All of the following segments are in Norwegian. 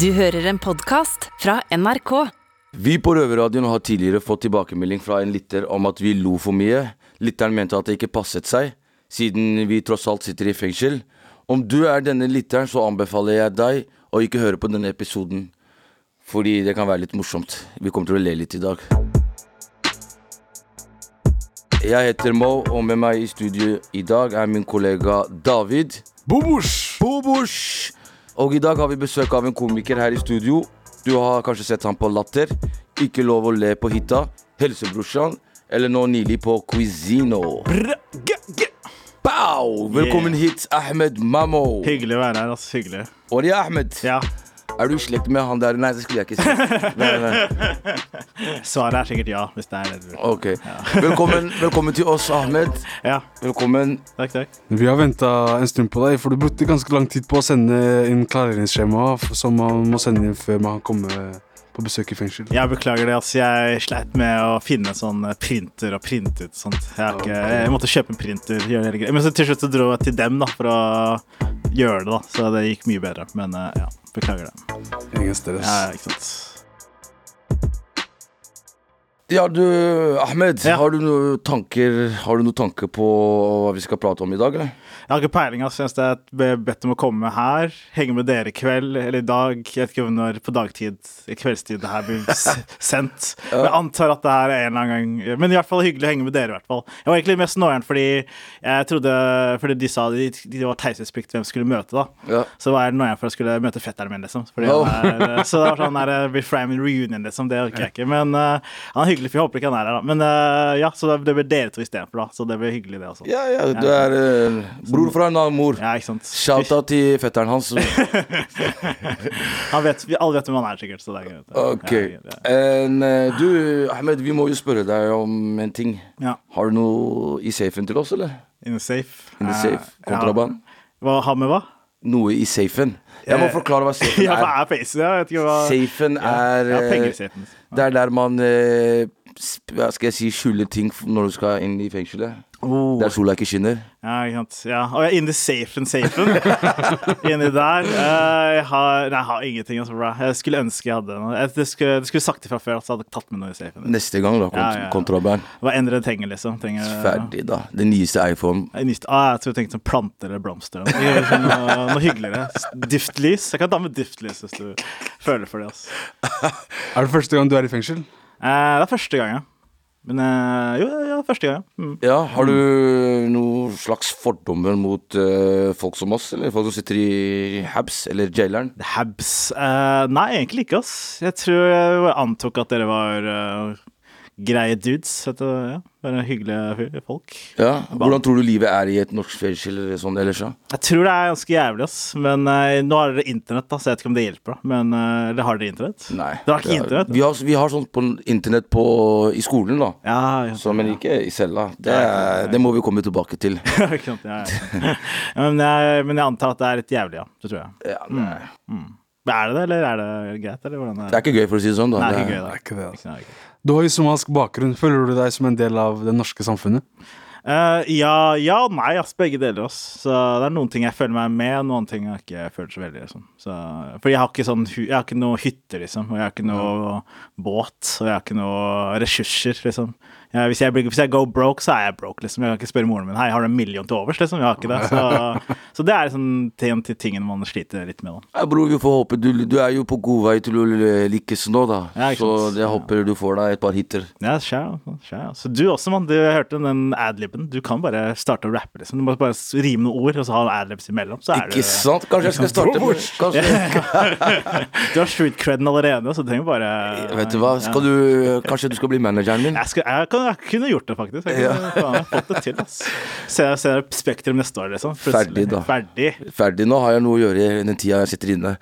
Du hører en podkast fra NRK. Vi på Røverradioen har tidligere fått tilbakemelding fra en lytter om at vi lo for mye. Lytteren mente at det ikke passet seg, siden vi tross alt sitter i fengsel. Om du er denne lytteren, så anbefaler jeg deg å ikke høre på denne episoden. Fordi det kan være litt morsomt. Vi kommer til å le litt i dag. Jeg heter Mo, og med meg i studio i dag er min kollega David. Bobosh! Bobosh! Og i dag har vi besøk av en komiker her i studio. Du har kanskje sett ham på Latter, Ikke lov å le på hytta, Helsebrorsan, eller nå nylig på Cuisino. Bow! Velkommen hit, Ahmed Mammo. Hyggelig å være her, ass. Hyggelig. Ori Ahmed, Ja, er du i slekt med han der? Nei, det skulle jeg ikke si. Nei, nei, nei. Svaret er sikkert ja, hvis det er det du vil. Ok. Velkommen, velkommen til oss, Ahmed. Ja, Velkommen. takk, takk. Vi har venta en stund på deg, for du brukte ganske lang tid på å sende inn klareringsskjema f- som man må sende inn før man kan komme på besøk i fengsel. Jeg beklager det, ass. Jeg sleit med å finne sånn printer og printe ut sånt. Jeg, har ikke, jeg måtte kjøpe en printer. Gjøre hele greia. Men så til slutt så dro jeg til dem da, for å gjøre det, da. Så det gikk mye bedre. Men eh, ja, beklager det. Ingen stress. Ja, ikke sant. Ja, du, Ahmed. Ja. Har du noen tanker Har du noen tanker på hva vi skal prate om i dag, eller? Jeg har ikke peiling, ass. Jeg synes det er- ble bedt om å komme her. Henge med dere i kveld eller i dag. Jeg vet ikke om når på dagtid, i kveldstid, det her blir s- sendt. Men jeg antar at det her er en eller annen gang Men i hvert fall hyggelig å henge med dere, i hvert fall. Jeg var egentlig mest noieren fordi jeg trodde Fordi de sa de, de var taushetsplikt hvem skulle møte, da. Ja. Så var jeg noieren for jeg skulle møte fetteren min, liksom. Fordi Oh. han er, så det var sånn der, blir Framing reunion, liksom. Det orker jeg ikke. Men eh, han er hyggelig, for jeg håper ikke han er her, da. Men eh, ja, så det, det blir dere to istedenfor, da. Så det blir hyggelig, det også. Ja, ja, du er eh, bror fra en annen mor. Ja, ikke sant. Shout-out til fetteren hans. Han vet, vi alle vet hvem han er, sikkert. Så det er greit. Ok. Ja, det er greit. En, eh, du, Ahmed, vi må jo spørre deg om en ting. Ja. Har du noe i safen til oss, eller? In the safe. In the Eh, safe. Kontraband? Ja. Hva, ha med hva? Noe i safen. Jeg må Eh, forklare hva safen Ja, hva er. er facet? Jeg vet ikke hva Safen er ja, penger i eh, safen. Det er der man eh, sp- hva skal jeg si, skjuler ting f- når du skal inn i fengselet. Oh. Der sola ikke skinner. Ja, ikke sant. Ja. Å, ja, in the safen, safen. Inni der. Eh, jeg har, nei, jeg har ingenting. Altså, bra. Jeg skulle ønske jeg hadde noe. Jeg, det, skulle, det skulle sagt ifra før at jeg hadde tatt med noe i safen. Neste gang, da. Kont Ja, ja, ja. Kontraband. Hva enn dere trenger, liksom. Trenger, Ferdig, da. Den nyeste iPhone. Jeg nyste- ah, jeg tror jeg tenkte sånn planter eller blomster. eller Noe, Sånn, noe, noe hyggeligere. Duftlys. Jeg kan ta med duftlys hvis du føler for det. Altså. Er det første gang du er i fengsel? Eh, det er første gang, ja. Men eh, jo, ja, første gang, ja. Mm. Ja, har du noen slags fordommer mot eh, folk som oss, eller folk som sitter i habs, eller jaileren? The Habs. Eh, nei, egentlig ikke, ass. Jeg tror jeg bare antok at dere var eh, greie dudes. Vet du, ja. Bare hyggelige fy- folk. Ja, Hvordan tror du livet er i et norsk fengsel eller sånn ellers? da? Jeg tror det er ganske jævlig, ass. Men eh, nå har dere internett, da, så jeg vet ikke om det hjelper. da. Men eh, eller har dere internett? Nei. Dere har ikke internett? Vi har, vi har sånt på internett på, i skolen, da. Ja, ja. Så, men ikke i cella. Det, er- det må vi komme tilbake til. Ikke sant, ja, ja. Ja, men, jeg, men jeg antar at det er litt jævlig, ja. Det tror jeg. Ja, det, er, Men Er det det, eller er det greit? Eller hvordan det er ikke gøy, for å si det sånn. da Nei, det Det er ikke er- gøy, da. Det er ikke det, altså. Ikke noe, ikke. Du har jo somalisk bakgrunn. Føler du deg som en del av det norske samfunnet? Eh, ja, ja og nei, ass, begge deler. Ass. Så det er noen ting jeg føler meg med, noen ting jeg ikke føler så veldig. Liksom. Så, for jeg har ikke sånn hu- Jeg har ikke noe hytte, liksom. Og jeg har ikke noe båt. Og jeg har ikke noe ressurser, liksom. Jeg, hvis, jeg blir, hvis jeg go broke, så er jeg broke, liksom. Jeg kan ikke spørre moren min Hei, har du en million til overs, liksom. Jeg har ikke det. Så, så det er liksom en til tingene man sliter litt med, da. Ja, bror, vi får håpe du, du er jo på god vei til å lykkes nå, da. Ja, ikke så sant. jeg håper du får deg et par hiter. Ja, skjær, da, skjær, ja. Så du også, mann. Du hørte den adliben. Du kan bare starte å rappe, liksom. Du må bare rime noen ord, og så ha adlibs imellom. Så er Ikke du sant? Kanskje jeg skal starte med kanskje, Du har street creden allerede, så du trenger bare Eh, Vet du hva, skal du, kanskje du skal bli manageren min? Jeg, skal, jeg, kan, jeg kunne gjort det, faktisk. Jeg kunne faen, jeg fått det til. ass. Se, se Spektrum neste år, liksom. Plutselig. Ferdig, da. Ferdig. Ferdig, nå har jeg noe å gjøre i den tida jeg sitter inne.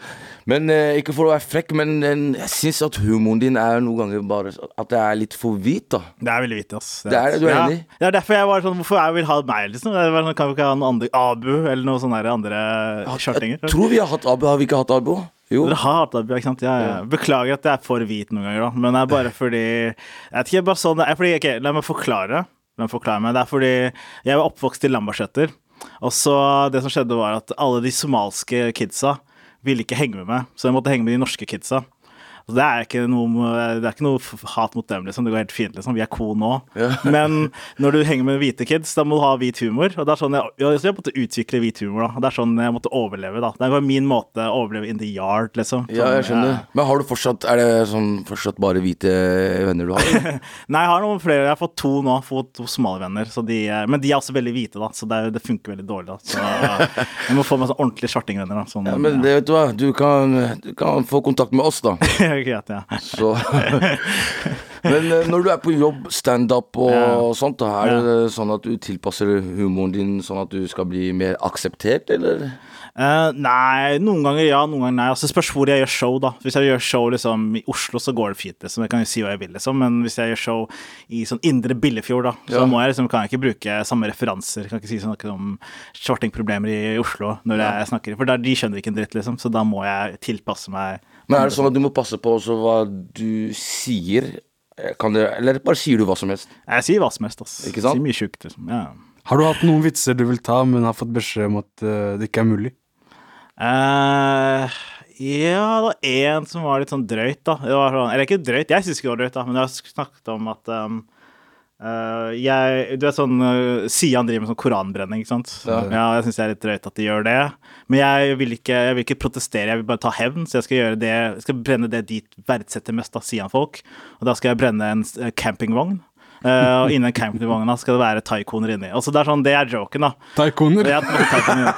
Men eh, ikke for å være frekk, men eh, jeg syns at humoren din er noen ganger bare så- At det er litt for hvit, da. Det er veldig vittig, ass. Det er det, du er ja. enig? Det er derfor jeg var sånn Hvorfor jeg vil ha meg, liksom? Det var sånn, kan vi ikke ha noen andre Abu, eller noen sånne der andre Jeg kjørtinger? tror vi har hatt Abo. Har vi ikke hatt Abo? Jo. Dere har hatt Abu, ikke sant? Ja, ja. Beklager at jeg er for hvit noen ganger, da. Men det er bare fordi Jeg vet ikke, bare sånn det er fordi, ok, La meg forklare. La meg forklare meg. Det er fordi jeg var oppvokst i Lambertseter. Og så det som skjedde, var at alle de somalske kidsa ville ikke henge med meg, så jeg måtte henge med de norske kidsa. Så det er ikke noe, det er ikke noe f- hat mot dem, liksom. Det går helt fint, liksom. Vi er cool nå. Men når du henger med hvite kids, da må du ha hvit humor. Og det er sånn jeg, ja, så jeg måtte utvikle hvit humor, da. Og Det er sånn jeg måtte overleve, da. Det var min måte å overleve in the yard, liksom. Ja, jeg Sånn, skjønner. Men har du fortsatt Er det sånn fortsatt bare hvite venner du har? Nei, jeg har noen flere. Jeg har fått to nå. Fått to smale venner. Så de, eh, men de er også veldig hvite, da, så det, er- det funker veldig dårlig. da Så jeg må få meg sånn ordentlige svartingvenner. da sånn, Ja, men det vet du hva, du kan, du kan få kontakt med oss, da. Greit, ja. Så Men eh, når du er på jobb, standup og Ja. sånt, da, er det sånn at du tilpasser humoren din sånn at du skal bli mer akseptert, eller? Eh, nei, noen ganger ja, noen ganger nei. Altså, det spørs hvor jeg gjør show, da. Hvis jeg gjør show liksom, i Oslo, så går det fint, liksom. Jeg kan jo si hva jeg vil, liksom. Men hvis jeg gjør show i sånn indre Billefjord, da, så Ja. må jeg, liksom, kan jeg ikke bruke samme referanser. Kan ikke si sånn noe om svartingproblemer i Oslo når jeg snakker. For der, de skjønner ikke en dritt, liksom. Så da må jeg tilpasse meg. Men er det sånn at du må passe på også hva du sier? Eh, Kan det, eller bare sier du hva som helst? Jeg sier hva som helst, ass. Ikke sant? Sier mye sjukt, liksom. Ja. Har du hatt noen vitser du vil ta, men har fått beskjed om at eh, det ikke er mulig? Eh, ja, det var én som var litt sånn drøyt, da. Det var sånn, eller ikke drøyt, jeg syns ikke det var drøyt, da, men jeg har snakket om at um, eh, jeg, Du vet sånn eh, Sian driver med sånn koranbrenning, ikke sant? Ja, jeg syns det er litt drøyt at de gjør det. Men jeg vil, ikke, jeg vil ikke protestere, jeg vil bare ta hevn, så jeg skal gjøre det jeg skal brenne det de verdsetter mest av Sian-folk. Og da skal jeg brenne en s- campingvogn. Eh, og innen campingvogna skal det være taikoner inni. Altså, det er sånn, det er joken, da. Taikoner? Ja, på takken, ja.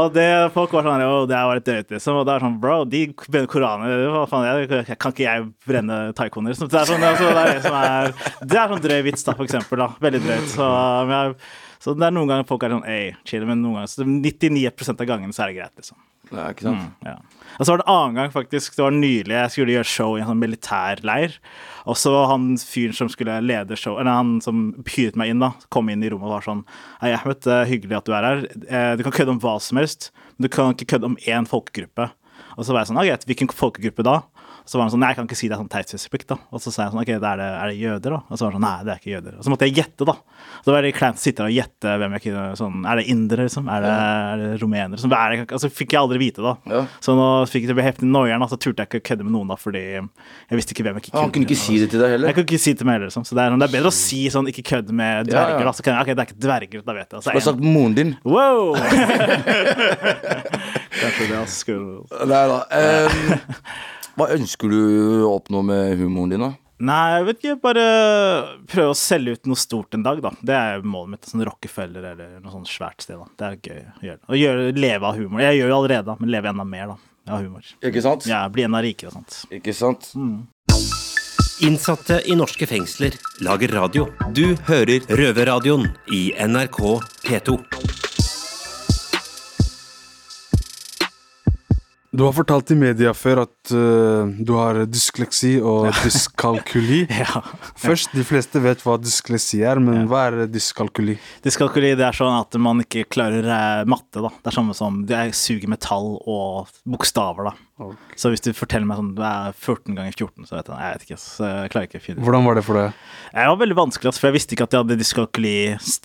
Og det, folk var sånn «Å, det var litt drøyt, liksom. Og det er sånn, bro, de brenner koraner. Hva faen, jeg, jeg- kan ikke jeg brenne taikoner? Så det er sånn, altså, det er det som er Det er sånn drøy vits, da, for eksempel. Da. Veldig drøyt. Så, men jeg, så det er noen ganger folk er sånn Ei, chill, men noen ganger så 99 av gangene så er det greit, liksom. Nei, ikke sant? Ja. Og så var det en annen gang, faktisk. Det var nylig jeg skulle gjøre show i en sånn militærleir. Og så var han fyren som skulle lede show, eller han som hyret meg inn, da, kom inn i rommet og var sånn Hei, Ahmed, det er hyggelig at du er her. Eh, Du kan kødde om hva som helst, men du kan ikke kødde om én folkegruppe. Og så var jeg sånn, «Ah, greit, hvilken folkegruppe da? Og så var han sånn, nei, jeg kan ikke si det er sånn teitspesifikt da. Og så sa jeg sånn, ok, da er det, er det jøder da? Og så var han sånn, nei, det er ikke jøder. Og så måtte jeg gjette da. Så var det kleint å sitte der og gjette hvem jeg kunne, sånn, er det indere liksom? Er det, er det rumener liksom? Hva er det? Altså fikk jeg aldri vite da. Ja. Så nå fikk jeg det ble heftig nøyeren, så turte jeg ikke å kødde med noen da, fordi jeg visste ikke hvem jeg ikke Ja, kunne. Han kunne ikke si det til deg Jeg heller. kunne ikke si det til meg heller liksom. Så det er, sånn, det er bedre å si sånn, ikke kødd Ja, med ja. dverger da. Så kan jeg, ok, det er ikke dverger, da vet Hva jeg. Altså, en, sagt moren din? wow! Kanskje det, altså, skulle... Nei da. em, Eh, hva ønsker du å oppnå med humoren din, da? Nei, jeg vet ikke. Bare prøve å selge ut noe stort en dag, da. Det er målet mitt. Sånn Rockefeller eller noe sånt svært sted. da. Det er gøy å gjøre. Og gjøre, leve av humor. Jeg gjør jo allerede, da, men leve enda mer, da. Av humor. Ikke sant? Ja, bli enda rikere og sånt. Ikke sant? Innsatte i norske fengsler lager radio. Du hører Røverradioen i NRK P2. Du har fortalt i media før at eh, du har dysleksi og dyskalkuli. Ja. Først, de fleste vet hva dysleksi er, men hva er dyskalkuli? Dyskalkuli det er sånn at man ikke klarer eh, matte. da. Det er samme som jeg suger med tall og bokstaver. da. Så hvis du forteller meg sånn du er 14 ganger 14, så vet jeg, jeg vet ikke. Så jeg klarer ikke å finne ut. Hvordan var det for deg? Jeg var veldig vanskelig, ass, for jeg visste ikke at jeg hadde dyskalkuli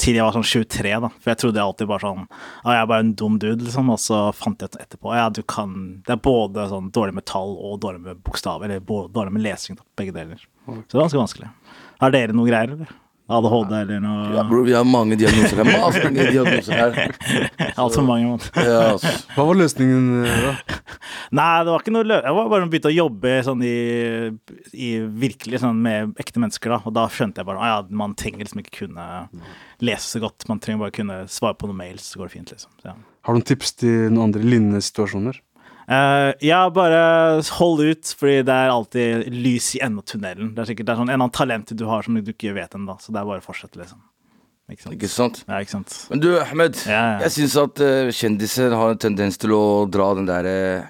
til jeg var sånn 23. da. For jeg trodde jeg alltid bare sånn Ja, jeg er bare en dum dude, liksom. Og så fant jeg ut etterpå ja, du kan Det er både sånn dårlig med tall og dårlig med bokstaver. Eller både, dårlig med lesing, da. Begge deler. Så det er ganske vanskelig. Har dere noe greier, eller? ADHD eller Ja, noe? bro, vi har mange diagnoser her. Mange diagnoser her. Altfor mange. Man. Ja, altså. Hva var løsningen eh, da? Nei, det var ikke noe lø Jeg var bare begynte å jobbe sånn i, i virkelig sånn med ekte mennesker, da. Og da skjønte jeg bare at ja, man trenger liksom ikke kunne lese så godt. Man trenger bare kunne svare på noen mails, så går det fint, liksom. Så, ja. Har du noen tips til noen andre lignende situasjoner? Eh, ja, bare hold ut, fordi det er alltid lys i enden av tunnelen. Det er sikkert det er sånn en eller annen talent du har som du ikke vet ennå, så det er bare å fortsette, liksom. Ikke sant? Ikke sant? Ja, ikke sant? Men du, Ahmed. Ja, ja. Jeg syns at eh, kjendiser har en tendens til å dra den der eh,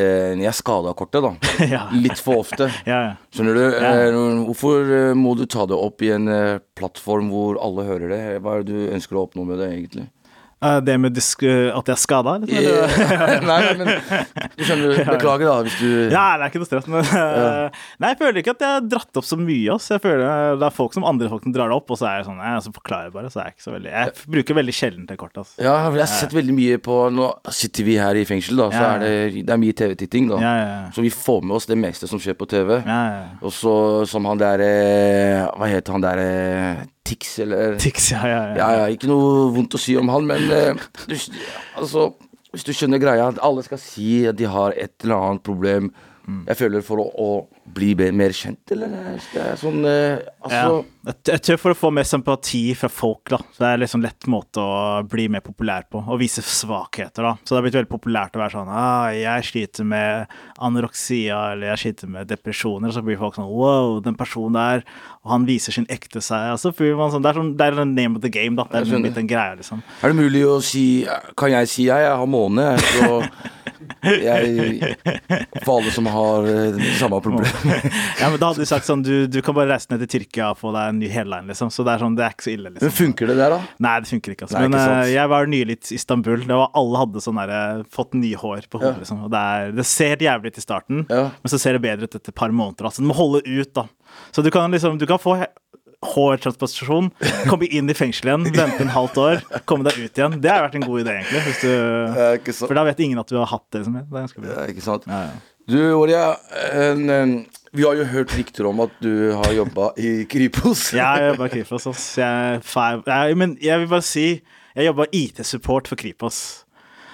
eh, Jeg skada-kortet, da. ja. Litt for ofte. ja, ja. Skjønner du? Eh, hvorfor eh, må du ta det opp i en eh, plattform hvor alle hører det? Hva er det du ønsker å oppnå med det, egentlig? Eh, Det med disk at jeg er skada? Liksom, Nei, men du skjønner, beklager da hvis du ja, det er ikke noe stress. Men, eh, Nei, jeg føler ikke at jeg har dratt opp så mye. ass. Jeg føler Det er folk som andre folk som drar det opp, og så er jeg sånn, nei, så forklarer jeg bare. Så er jeg ikke så veldig Jeg bruker veldig sjelden det kortet. ass. Ja, for jeg har sett veldig mye på Nå sitter vi her i fengsel, da, så Ja. er det, det er mye TV-titting, da. Ja, ja, ja. Så vi får med oss det meste som skjer på TV. Ja, ja, ja. Og så som han derre Hva heter han derre Tix, eller Tics, ja, ja, ja. Ja, ja, ikke noe vondt å si om han, men eh, du, altså, hvis du skjønner greia at Alle skal si at de har et eller annet problem. Mm. Jeg føler for å, å bli be- mer kjent, eller? Skal jeg sånn eh, Altså Ja. Jeg t- Jeg tror for å få mer sympati fra folk, da. Så det er liksom lett måte å bli mer populær på, og vise svakheter, da. Så det har blitt veldig populært å være sånn ah, 'Jeg sliter med anoroksia', eller 'jeg sliter med depresjoner', og så blir folk sånn 'wow, den personen der, og han viser sin ekte seg'. Og så blir man sånn, det er sånn, det er the name of the game, da. Det Jeg er skjønner. blitt en greie, liksom. Er det mulig å si Kan jeg si jeg, jeg har måne? jeg, Så jeg For alle som har eh, samme problem. Ja, men da hadde du sagt sånn du, du kan bare reise ned til Tyrkia og få deg en ny headline, liksom. Så det er sånn, det er ikke så ille, liksom. Men funker det der, da? Nei, det funker ikke. Altså. Nei, ikke Men sant. eh, jeg var nylig i Istanbul. Det var, alle hadde sånn derre- fått nye hår på hodet. Liksom. Og det, er, det ser jævlig ut i starten, Ja. men så ser det bedre ut etter et par måneder. Altså. Du må holde ut, da. Så du kan, liksom, du kan få he- hårtransplantasjon, komme inn i fengsel igjen, vente en halvt år, komme deg ut igjen. Det har vært en god idé, egentlig. Hvis du, Eh, ikke sant. for da vet ingen at du har hatt det. Liksom. Det er ganske bra. Ja, ikke sant? Ja, ja. Du, Oria, en, en, vi har jo hørt rykter om at du har jobba i Kripos. Jeg jobba i Kripos. Ass. Jeg, er feil- jeg, men jeg vil bare si jeg jobba IT-support for Kripos.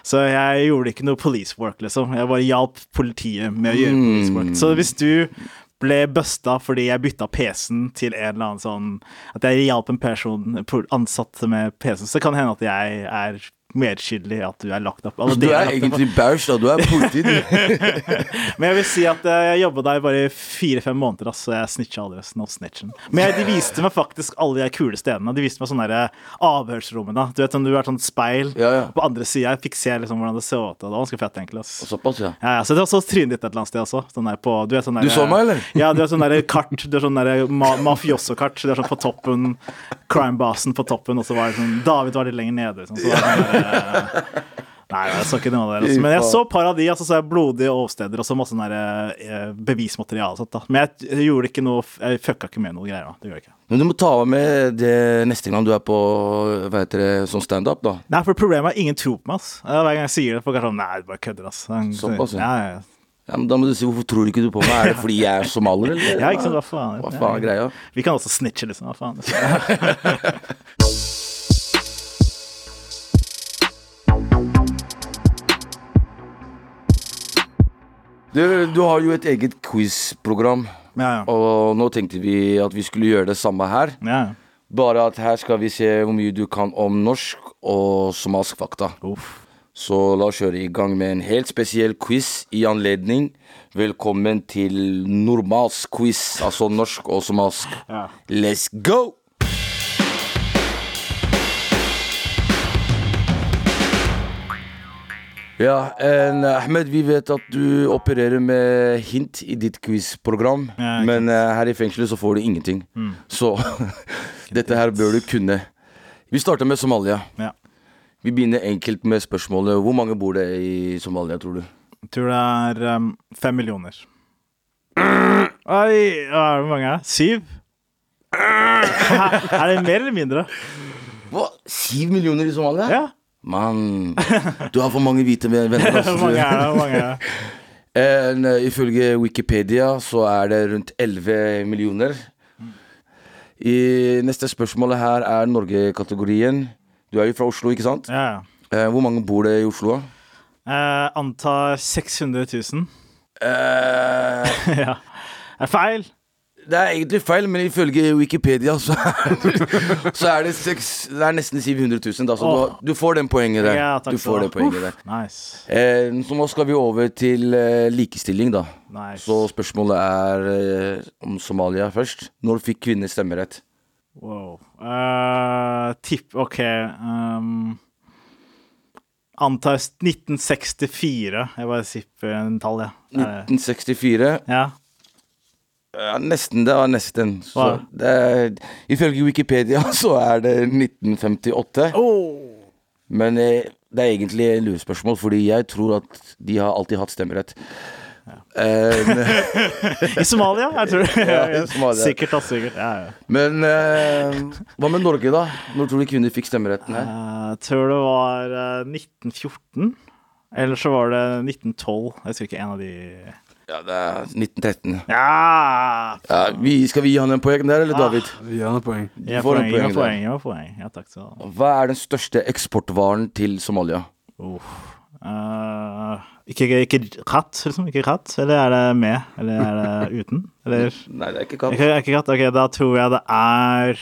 Så jeg gjorde ikke noe police work, liksom. Jeg bare hjalp politiet med å gjøre Mm. police work. Så hvis du ble busta fordi jeg bytta PC-en til en eller annen sånn At jeg hjalp en person pol- ansatt med PC-en, så kan det hende at jeg er medskyldig i at du er lagt opp. Altså, Du dere er lagt opp. egentlig bæsj, da. Du er politi. du. Men jeg vil si at eh, jeg jobba der bare i fire-fem måneder, ass, så jeg snitcha aldri. ass. No snitchen. Men jeg, de viste meg faktisk alle de kule stedene. De viste meg sånne der eh, avhørsrommene. Du vet sånn, du har sånn speil Ja, ja. på andre sida. Jeg fikk se liksom hvordan det så ut. og Det var ganske fett, egentlig. ass. Såpass, ja. Ja, ja, så det var så trynet ditt et eller annet sted også. Sånn der på, du, er sånn der, Du så meg, eller? Ja, du har sånn der kart. Du har sånn der ma mafioso-kart. Du er sånn på toppen, crime-basen på toppen, og så var det sånn David var litt lenger nede. Liksom, så var det sånn der, eh, Nei, jeg så ikke noe av det. Altså. Men jeg så paradis, altså, så jeg blodige oversteder og så masse sånn der, eh, bevismateriale. og sånt, da. Men jeg gjorde ikke noe, jeg fucka ikke med noe greier. da, det gjorde jeg ikke. Men du må ta med det neste gang du er på hva heter det, sånn standup, da. Nei, for problemet er ingen tror på meg. ass. Eh, Hver gang jeg sier det, folk er sånn Nei, du bare kødder, ass. Såpass, ja. ja. Ja, ja. Ja, men da må du si hvorfor tror du ikke du på meg? Er det fordi jeg er somalier, eller? Ja, ikke sant, hva faen? Hva faen er greia? Vi kan også snitche, liksom. Hva faen? Du, du har jo et eget quiz-program, Ja, ja. og nå tenkte vi at vi skulle gjøre det samme her. ja. ja. Bare at her skal vi se hvor mye du kan om norsk og somalisk fakta. Uff. Så la oss kjøre i gang med en helt spesiell quiz i anledning. Velkommen til normalsk quiz, altså norsk og somalisk. Ja. Let's go! Ja, en, eh, Ahmed, vi vet at du opererer med hint i ditt quizprogram. Ja, ikke Mm. men eh, her i fengselet så får du ingenting. Så dette her bør du kunne. Vi starter med Somalia. Ja. Vi begynner enkelt med spørsmålet Hvor mange bor det i Somalia, tror du? Jeg tror det er um, fem millioner. Oi, hva er det hvor mange er det? Syv? er det mer eller mindre? Hva? Siv millioner i Somalia? Ja. Mann, du har for mange hvite ven- venner. altså. Hvor mange er det? Hvor mange er det? En, eh, ifølge Wikipedia så er det rundt 11 millioner. I neste spørsmålet her er Norge-kategorien. Du er jo fra Oslo, ikke sant? Ja, ja. Eh, hvor mange bor det i Oslo? da? Eh, antar 600 000. Eh, ja. Er feil? det er egentlig feil, men ifølge Wikipedia så er, så er det, seks, det er nesten 700 000. Da, så du, har- du får den poenget der. Ja, du får det poenget der. Uff, Nice. Eh, så nå skal vi over til eh, likestilling, da. nice. Så spørsmålet er eh, om Somalia først. Når fikk kvinner stemmerett? Wow. Eh, tipp OK. Um, antar 1964. Jeg bare sipper en tall, jeg. Ja. 1964. ja. Ja, nesten. Det var nesten. Så Hva? Oh! det er, ifølge Wikipedia så er det 1958. Men eh, det er egentlig et lurespørsmål, fordi jeg tror at de har alltid hatt stemmerett. Eh, men- I Somalia, jeg tror det. Ja, i Somalia. Sikkert, da, sikkert. Ja, ja. men eh, hva med Norge, da? Når tror du kvinner fikk stemmeretten her? Jeg Eh, tror det var eh, 1914. Eller så var det 1912. Jeg tror ikke en av de Ja, det er 1913. Ja! Ja, vi, skal vi gi han en poeng der, eller David? Gi han et poeng. Ah, Gi meg får en poeng, gi meg poeng der. poeng. gi meg poeng. Ja, takk skal du ha. Hva er den største eksportvaren til Somalia? Uff. Eh, ikke, ikke katt, liksom? Ikke katt? Eller er det med? Eller er det uten? Eller Nei, det er ikke ikke, ikke katt? Ok, da tror jeg det er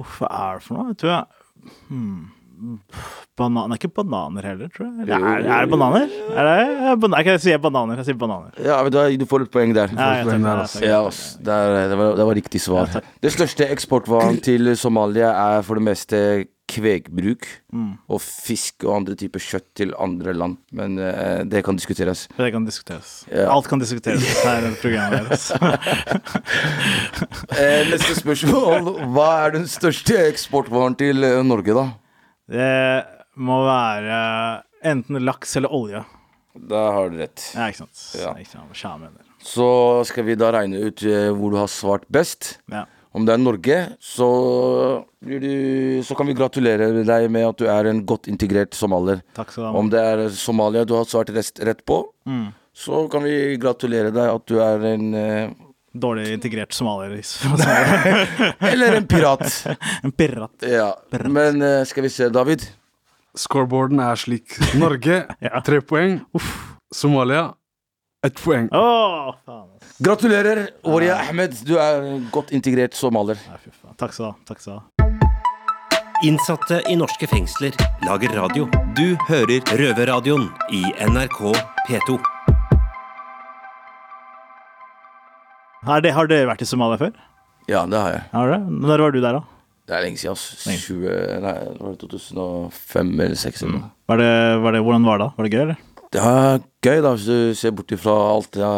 Uff, hva er det for noe? Jeg tror jeg hmm. Banan, Det er ikke bananer heller, tror jeg. Eller er, er det bananer? Er det, er ban- jeg kan si bananer. Jeg sier bananer. Ja, men da, Du får et poeng der. Ja, jeg poeng tenkte der, det, altså. jeg Ja, ass, det, er, det, var, det var riktig svar. Det største eksportvaren til Somalia er for det meste kvegbruk og fisk og andre typer kjøtt til andre land. Men eh, det kan diskuteres. tenkte det. Det kan diskuteres. Ja. Alt kan diskuteres her altså. i programmet deres. Eh, neste spørsmål. Hva er den største eksportvaren til eh, Norge, da? Det må være enten laks eller olje. Da har du rett. Ja, ikke sant. Ja. Ikke sant. Skjær med det. Så skal vi da regne ut eh, hvor du har svart best. Ja. Om det er Norge, så, blir du, så kan vi gratulere deg med at du er en godt integrert somalier. Takk skal du ha. Om det er Somalia du har svart rest, rett på, Mm. så kan vi gratulere deg at du er en eh, Dårlig integrert somalier. for å si det. Eller en pirat. En pirat. ja. Men eh, skal vi se, David. Scoreboarden er slik. Norge Ja. tre poeng. Somalia ett poeng. Å, faen. ass. Gratulerer, Oria Ahmed. Du er en godt integrert somalier. Nei, fy faen. Takk skal du ha. Takk skal du ha. Innsatte i norske fengsler lager radio. Du hører Røverradioen i NRK P2. Er det, har dere vært i Somalia før? Ja, det har jeg. Har dere? Når var du der, da? Det er lenge siden, altså. Lenge. 20, nei, det var 2005 eller 2006. eller noe. Var det, var det, hvordan var det da? Var det gøy, eller? Det er gøy, da, hvis du ser bort ifra alt det,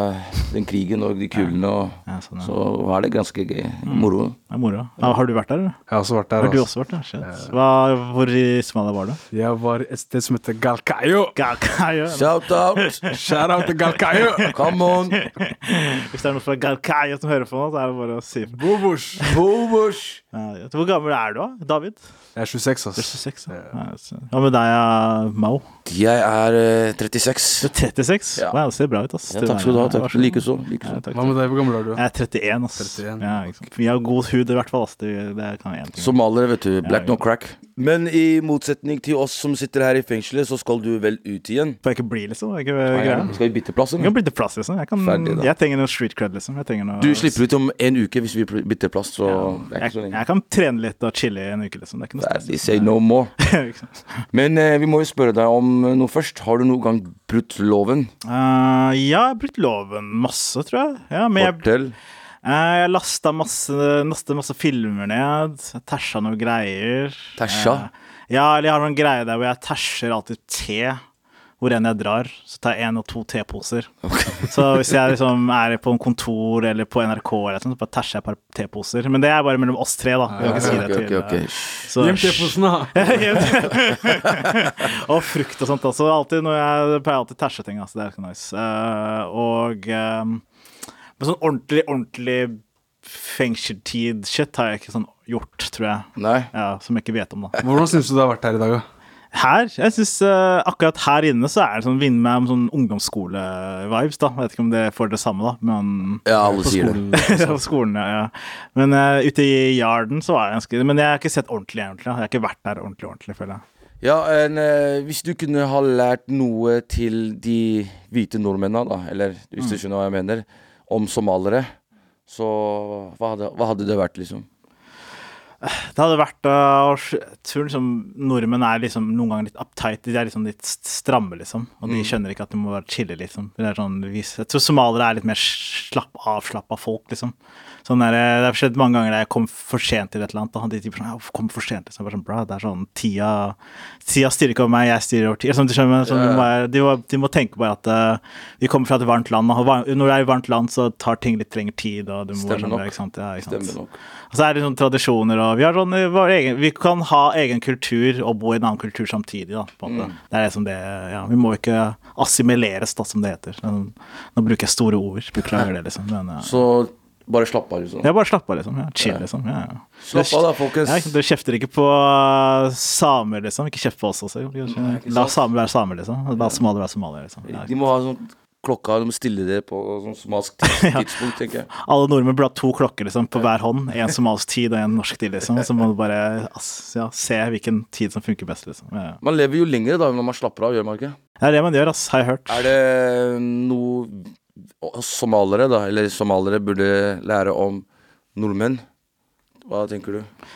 den krigen og de kulene og Ja, sånn, ja. Mm. Så var det ganske gøy. Moro. Det er moro. Ja, har du vært der, eller? Jeg har også vært der. Har du altså. også vært der? Shit. Hva, hvor i Somalia var du? Jeg var et sted som heter Galkayo. Galkayo. Shout out! Shout out til Galkayo! Come on! Hvis det er noen fra Galkayo som hører på nå, så er det bare å si ifra. Bobosh. Bobosh! Ja, Hvor gammel er du, da? David? Jeg er 26, Du er ass. 26. Ja. Ja, så- Hva med deg, ja, Mao? Jeg er eh, 36. Du er 36? Ja. Wow, det ser bra ut, ass. Ja, takk skal du ha. Vær Takk. så god. Likeså. Ja, likeså. takk. Hva med deg? Hvor gammel er du? Jeg er 31, ass. 31. Ja, ikke sant. Vi har god hud i hvert fall, ass. Det, det kan jeg en ting. Somaliere, vet du. Black Ja, no crack. Men i motsetning til oss som sitter her i fengselet, så skal du vel ut igjen? Får jeg ikke bli, liksom? Jeg, ikke, Nei, greier. gjerne. Skal vi bytte plass? jeg eller? kan bli til plass, liksom. Jeg, kan, sånn. Ferdig, da. jeg trenger noe street cred, liksom. Jeg trenger noe Du slipper ut om en uke hvis vi pl- bytter plass, så det er jeg, ikke så lenge. jeg kan trene litt og chille i en uke, liksom. Det er ikke noe They say no more. Ikke sant? Men eh, vi må jo spørre deg om eh, noe først. Har du noen gang brutt loven? Eh, ja, jeg har brutt loven masse, tror jeg. Ja, men jeg, Fortell. eh, jeg lasta masse, lasta masse filmer ned. Jeg Tæsja noen greier. Tæsja? Eh, ja, eller jeg har noen greier der hvor jeg tæsjer alltid te hvor enn jeg drar. Så tar jeg én og to teposer. Så hvis jeg liksom er på en kontor eller på NRK, eller noe sånt, så bare tæsjer jeg et par teposer. Men det er bare mellom oss tre, da. Jeg kan ikke si Ok, det ok, til eh, ok. så- Gjem teposen, da. og frukt og sånt også. Alltid når jeg jeg pleier alltid å tæsje ting. Altså, det er ganske nice. Eh, og eh, Men sånn ordentlig, ordentlig fengseltid-shit har jeg ikke sånn gjort, tror jeg. Nei. Ja, som jeg ikke vet om, da. Hvordan syns du det har vært her i dag, da? Her, jeg synes eh, Akkurat her inne så er det sånn vinn meg om sånn ungdomsskole-vibes, da. Jeg vet ikke om det får det samme, da, men Ja, alle sier det. på skolen, ja, ja. Men eh, ute i yarden så var jeg ganske Men jeg har ikke sett ordentlig, ordentlig. da. Jeg har ikke vært der ordentlig, ordentlig, føler jeg. Ja, en, eh, hvis du kunne ha lært noe til de hvite nordmennene, da, eller hvis du skjønner hva jeg mener, om somalere, så hva hadde, hva hadde det vært, liksom? Det hadde vært uh, Jeg tror liksom nordmenn er liksom noen ganger litt uptight. De er liksom litt st- stramme, liksom. Og de Mm. skjønner ikke at de må bare chille, liksom. Det er sånn, vis- jeg tror somaliere er litt mer slapp avslappa folk, liksom. Sånn der, eh, det har skjedd mange ganger der jeg kom for sent til et eller annet. Da. De typer sånn «Jeg kom for sent, liksom. Jeg Bare sånn, bra, det er sånn Tida, tida styrer ikke over meg, jeg styrer over tida. Sånn, du skjønner, sånn, de, må, de, må, de må tenke bare at eh, vi kommer fra et varmt land. Og var- når det er et varmt land, så tar ting litt lengre tid. Og du må, Stemmer skjønne nok. det, Ikke sant? Ja, ikke sant? Stemmer nok. Og så er det sånn tradisjoner og og vi, har sånn, vår egen, vi kan ha egen kultur og bo i en annen kultur samtidig. Da, på en måte. Mm. Det er det som det, ja, vi må ikke assimileres, da, som det heter. Men, nå bruker jeg store ord, beklager det, liksom. Men, ja. Så bare slapp av, liksom. Jeg bare slapp av, liksom. Ja, chill, liksom. Ja, ja. Slapp av da, folkens. Ja, ikke- du kjefter ikke på uh, samer, liksom. Ikke kjeft på oss også. Nei, ikke La sant. samer være samer, liksom. La somalier være somalier, liksom. Ja. De må ha sånn klokka de må stille det på sånn smalsk tids- tidspunkt, tenker jeg. Alle nordmenn burde ha to klokker liksom, på hver hånd. En somalisk tid og en norsk tid. Liksom. Så må du bare ass, ja, se hvilken tid som funker best. Liksom. Ja. Man lever jo lenger da når man slapper av, gjør man ikke? Det er det man gjør, ass, har jeg hørt. Er det noe somalere, da, eller somalere burde lære om nordmenn? Hva tenker du?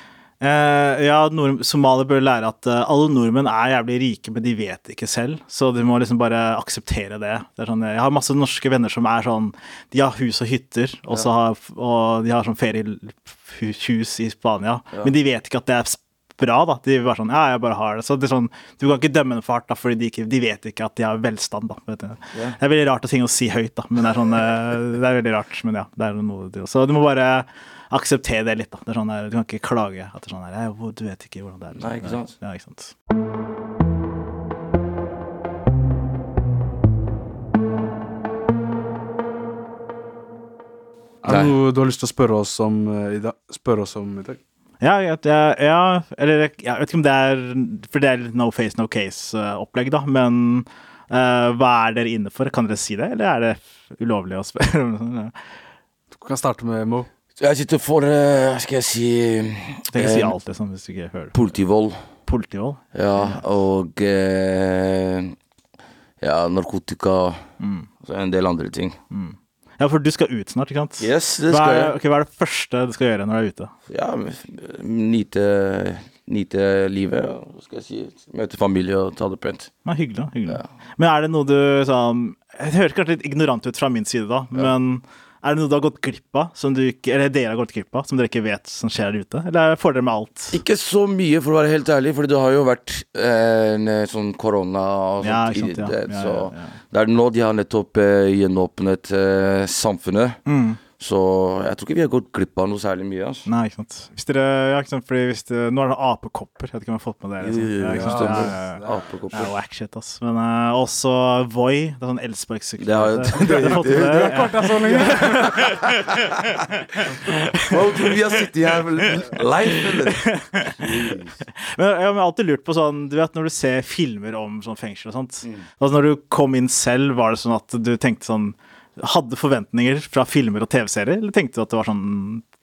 Eh, ja, nord Somalier bør lære at eh, alle nordmenn er jævlig rike, men de vet det ikke selv. Så du må liksom bare akseptere det. det er sånn, jeg har masse norske venner som er sånn De har hus og hytter, og, så har, og de har sånn feriehus i Spania. Men de vet ikke at det er s- bra, da. De vil være sånn Ja, jeg bare har det. Så det er sånn, du kan ikke dømme dem for hardt, da, fordi de, ikke, de vet ikke at de har velstand, da. Vet du. Det er veldig rart å ting å si høyt, da. Men det er sånn eh, Det er veldig rart, men ja. Det er noe til. Så du må bare akseptere det litt, da. Det er sånn der, du kan ikke klage at det er sånn der, «Nei, hvor- Du vet ikke hvordan det er. Nei, ikke sant? Ja, ikke sant. Er det Nei. noe du har lyst til å spørre oss om eh, i dag? Spørre oss om i dag? Ja, jeg, jeg, ja, eller jeg, jeg vet ikke om det er For det er litt no face, no case-opplegg, da. Men eh, hva er dere inne for? Kan dere si det, eller er det ulovlig å spørre? om sånn? Du kan starte med Mo. Jeg sitter for eh, Skal jeg si Tenk å si eh, alt, liksom, hvis du ikke hører Politivold. politivold. Ja, og eh, Ja, narkotika. Mm. Og så en del andre ting. Ja, for du skal ut snart, ikke sant? Yes, det hva, skal er, jeg. ok, hva er det første du skal gjøre når du er ute? Ja, men f- nyte, nyte livet. og hva Skal jeg si. Møte familie og ta det pent. Ja, hyggelig, da, hyggelig. Men er det noe du sånn Det høres kanskje litt ignorant ut fra min side, da, men er det noe du har gått glipp av, som du ikke, eller dere har gått glipp av, som dere ikke vet som skjer der ute? Eller får dere med alt? Ikke så mye, for å være helt ærlig, Fordi det har jo vært eh, en eh, sånn korona og sånt. Ja, ikke sant, i ja. det, Ja, så ja, ja. det er nå de har nettopp eh, gjenåpnet eh, samfunnet. Mm. Så jeg tror ikke vi har gått glipp av noe særlig mye. Altså. Nei, ikke sant. Hvis dere, ja, ikke sant, fordi hvis det, nå er det apekopper. Jeg vet ikke om jeg har fått med det. Liksom. Jo, jo, jo, Ja, ikke sant? stemmer. Ja, ja, ja. Det Apekopper. er whack shit, ass. Men eh, også Voi. Det er sånn elsparkesykkel. Det har- Du har fått med det? Ja. Wow, tror du vi har sittet her live, eller? Men jeg har alltid lurt på sånn Du vet når du ser filmer om sånn fengsel og sånt altså, Når du kom inn selv, var det sånn at du tenkte sånn Hadde forventninger fra filmer og TV-serier, eller tenkte du at det var sånn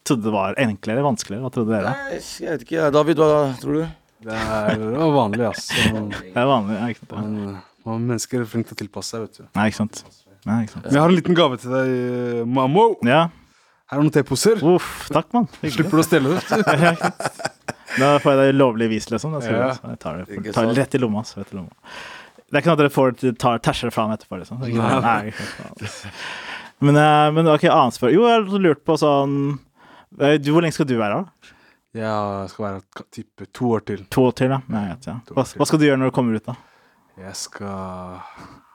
Trodde det var enklere, vanskeligere? Hva trodde dere? Nei, jeg vet ikke. David, hva tror du? Det er det var vanlig, ass. Man, Det er vanlig, ja, ikke sant? man, man mennesker er flinke til å tilpasse seg, vet du. Nei, ikke sant? Nei, ikke sant? Men jeg har en liten gave til deg, eh, Mamo. Ja. Her er noen teposer. Uff, takk, mann. Hyggelig. Slipper du å stjele det. vet du. Da får jeg det lovlig vis, liksom. Da skal Ja. jeg- så Jeg tar det, Ikke tar sant. det rett i lomma. ass, Rett i lomma. Det er ikke sånn at dere får det- tar terser fra meg etterpå, liksom. Det er ikke sånn, nei, ikke sant. men, eh, men ok, annet spørsmål. Jo, jeg har lurt på sånn eh, du, Hvor lenge skal du være? da? Ja, jeg skal være ka- type to år til. To år til, da? Nei, jeg vet, ja. To år hva, til. hva skal du gjøre når du kommer ut, da? Jeg skal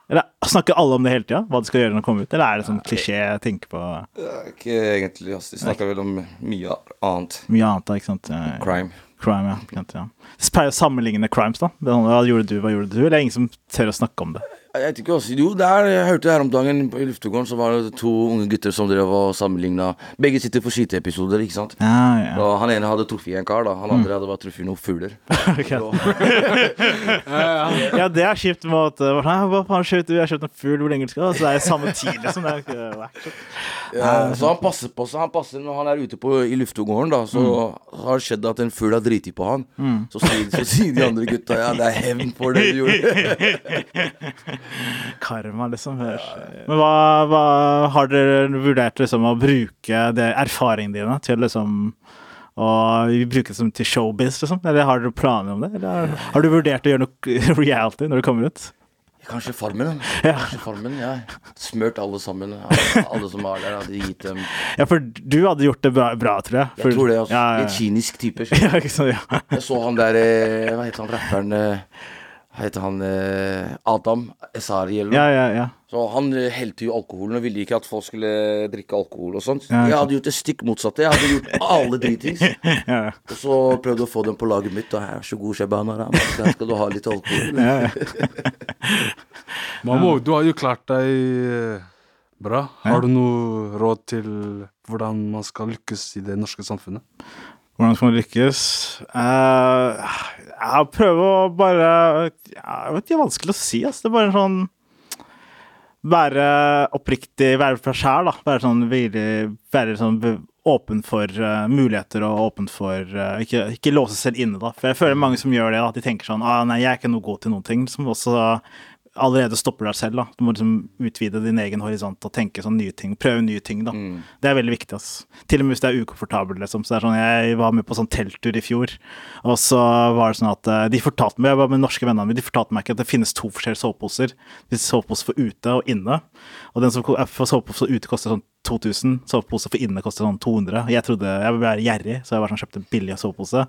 Eller Snakker alle om det hele tida? Hva du skal gjøre når du kommer ut? Eller er det sånn klisjé jeg tenker på Ikke egentlig. ass. De snakker vel om mye annet. mye annet? da, ikke sant? Eh, Crime. Crime, ja. Ikke sant, ja. Så pleier å sammenligne crimes, da. Det er sånn, Hva gjorde du, hva gjorde du? Eller er det ingen som tør å snakke om det? Jeg vet ikke også. Jo, der, jeg hørte her om dagen på- i luftegården, så var det to unge gutter som drev og sammenligna Begge sitter for skyteepisoder, ikke sant? Ja, ja. Og han ene hadde truffet en kar, da. Han andre hadde bare truffet noen fugler. Ja, det er kjipt med at uh, Nei, hva faen skjøt du? Jeg har skjøt en fugl, hvor lenge skal du? Så det er samme tid, liksom. Det er jo ikke wack. shit. Ja, Eh, så han passer på seg. Han passer Når han er ute på, i luftegården, da, så Mm. har det skjedd at en fugl har driti på han. Så, sier, så sier de andre gutta ja, det er hevn for det du gjorde. Karma, liksom. Hørs. Men hva, hva har dere vurdert liksom, å bruke det, erfaringene dine til liksom å bruke det som til showbiz, liksom? Eller har dere planer om det? Eller har du vurdert å gjøre noe reality når du kommer ut? Kanskje Farmen. da. Ja. Kanskje farmen, ja. Smurt alle sammen. Alle som var der, hadde gitt dem ja, for du hadde gjort det bra, bra tror jeg. For, Jeg tror det, altså. Ja, ja, En kynisk type. ja. ja, ikke sant, ja. Jeg så han der eh, Hva heter han rapperen eh, heter han eh, Adam Esari eller noe. Ja, ja, ja. Så han eh, helte jo alkoholen og ville ikke at folk skulle drikke alkohol og sånt. Ja, ikke jeg sant. hadde gjort det stikk motsatte. Jeg hadde gjort alle dritings. ja. Og så prøvde å få dem på laget mitt. Og her, så god shabana, da. Her skal du ha litt alkohol. Mammo, du har jo klart deg eh, bra. Har du noe råd til hvordan man skal lykkes i det norske samfunnet? Hvordan skal man lykkes? Eh, jeg prøver å bare Jeg vet ikke, det er vanskelig å si. ass. Det er bare sånn Være oppriktig, være fra sjæl, da. Være sånn, veldig, være sånn be- åpen for eh, muligheter og åpen for eh, ikke, ikke låse selv inne, da. For jeg føler mange som gjør det, at de tenker sånn ah, Nei, jeg er ikke noe god til noen ting. Som også allerede stopper deg selv. da. Du må liksom utvide din egen horisont og tenke sånn nye ting. Prøve nye ting, da. Det er veldig viktig. ass. Til og med hvis det er ukomfortabelt. liksom. Så det er sånn, Jeg var med på sånn telttur i fjor, og så var det sånn at eh, de fortalte meg, jeg var med norske vennene mine, de fortalte meg ikke at det finnes to forskjellige soveposer. Det finnes sovepose for ute og inne. Og den som ko- er for sovepose for ute koster sånn 2000, sovepose for inne koster sånn 200. Jeg trodde, jeg var gjerrig, så jeg var sånn, kjøpte en billig sovepose.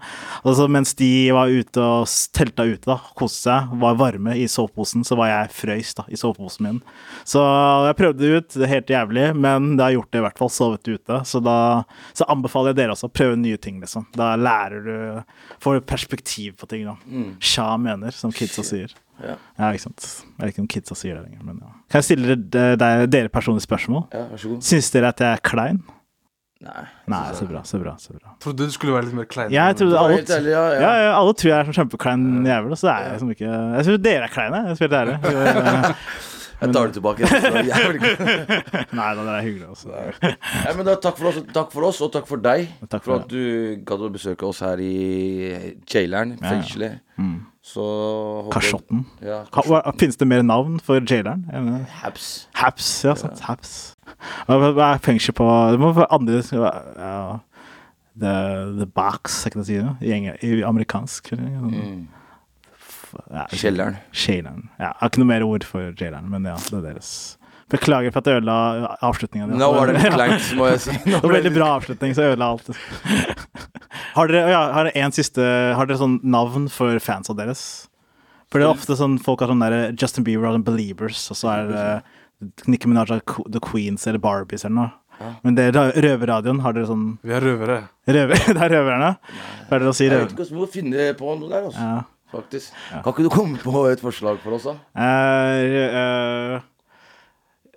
Og så mens de var ute og s- telta ute, da, koste seg, var varme i soveposen, så var jeg frøys da, i soveposen min. Så jeg prøvde det ut, det er helt jævlig, men det har gjort det i hvert fall, sovet ute. Så da så anbefaler jeg dere også å prøve nye ting, liksom. Da lærer du, får du perspektiv på ting, da. Sja mener, som kidsa sier. Ja. Ja, ikke sant. Jeg vet ikke om kidsa sier det lenger, men ja. Kan jeg stille dere, eh, dere- dere personlige spørsmål? Ja, vær så god. Syns dere at jeg er klein? Nei. Nei, så bra, så bra. så bra. Trodde du skulle være litt mer klein. Jeg trodde Ja, alle, helt ærlig, ja, ja. Ja, ja, alle tror jeg er sånn kjempeklein jævel, og så er jeg liksom ikke Jeg syns dere er kleine, jeg skal være helt ærlig. Jeg tar det tilbake. Jeg er vel ikke- eh, Nei da, dere er hyggelige altså. også. Nei, men da, takk, for oss, takk for oss, og takk for deg. Takk for for at du gadd å besøke oss her i jaileren, Ja, ja. fengselet. Så håper- Kasjotten. Ja, Ka- hva- Finnes det mer navn for jaileren? enn- Haps. Haps, ja. Sant? Haps. Hva hva- hva er fengsel på Det må være andre ja, the, the box, er ikke det å si det? I, enge- i amerikansk? eller noe sånt. F- ja, Mm. Kjelleren. Kjelleren. Ja, jeg har ikke noe mer ord for jaileren, men ja, det er deres. Beklager for at jeg ødela avslutningen. Nå var det litt kleint, må jeg si. Nå Det var ble veldig det- bra avslutning, så jeg ødela alt. Har dere, ja, har dere en siste Har dere sånn navn for fansa deres? For det er ofte sånn folk har sånn der Justin Bieber og sånn Believers, og så er det eh, Nicki Minaj har Qu- The Queens eller Barbies eller noe. Men det er Røverradioen. Har dere sånn Vi er røvere. røver, Det er røverne? Hva er det å si? Jeg vet Røver? ikke hvordan vi må finne på noe der, altså. Ja. Faktisk. Kan ikke du komme på et forslag for oss, da? Eh,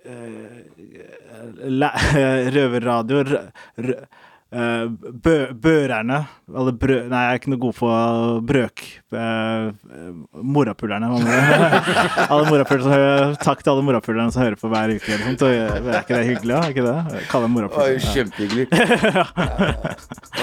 eh, eh, la, røverradio rø, rø, eh, bø, Børerne Eller brø... Nei, jeg er ikke noe god på brøk... Uh, morapulerne. hva med det? alle morapulere som hører, takk til alle morapulerne som hører på hver uke. Eller sånt. og, eh, Er ikke det hyggelig? da? Er ikke det? Kalle dem Det var jo morapulere. Ja. kjempehyggelig. Ja.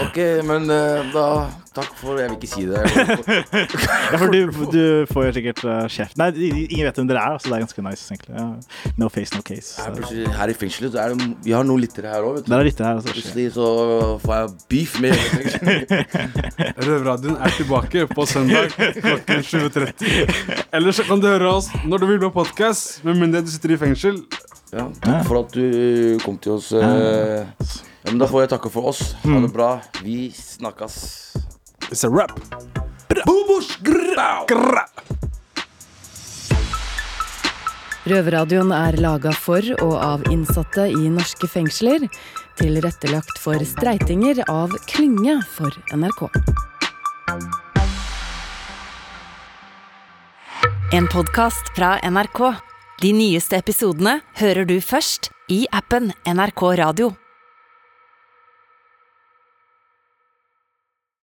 Ok, men eh, da Takk for Jeg vil ikke si det. Jeg vil- Ja, for du, du får jo sikkert eh, kjeft. Nei, ingen vet hvem dere er, da, så det er ganske nice, egentlig. Ja. No face, no case. Her, Så. plutselig- her i fengselet så er det, vi har noen lyttere her òg, vet du. Der er litt det her, altså. Shit. Plutselig så får jeg beef med hele fengselet. Røverradioen er tilbake på søndag klokken 7.30. Ellers så kan du høre oss når du vil på podkast, med mindre du sitter i fengsel. Ja, takk for at du kom til oss. eh. Ja, men da får jeg takke for oss. Ha det bra. Vi snakkes. It's a wrap. Røverradioen er laga for og av innsatte i norske fengsler. Tilrettelagt for streitinger av Klynge for NRK. En podkast fra NRK. De nyeste episodene hører du først i appen NRK Radio.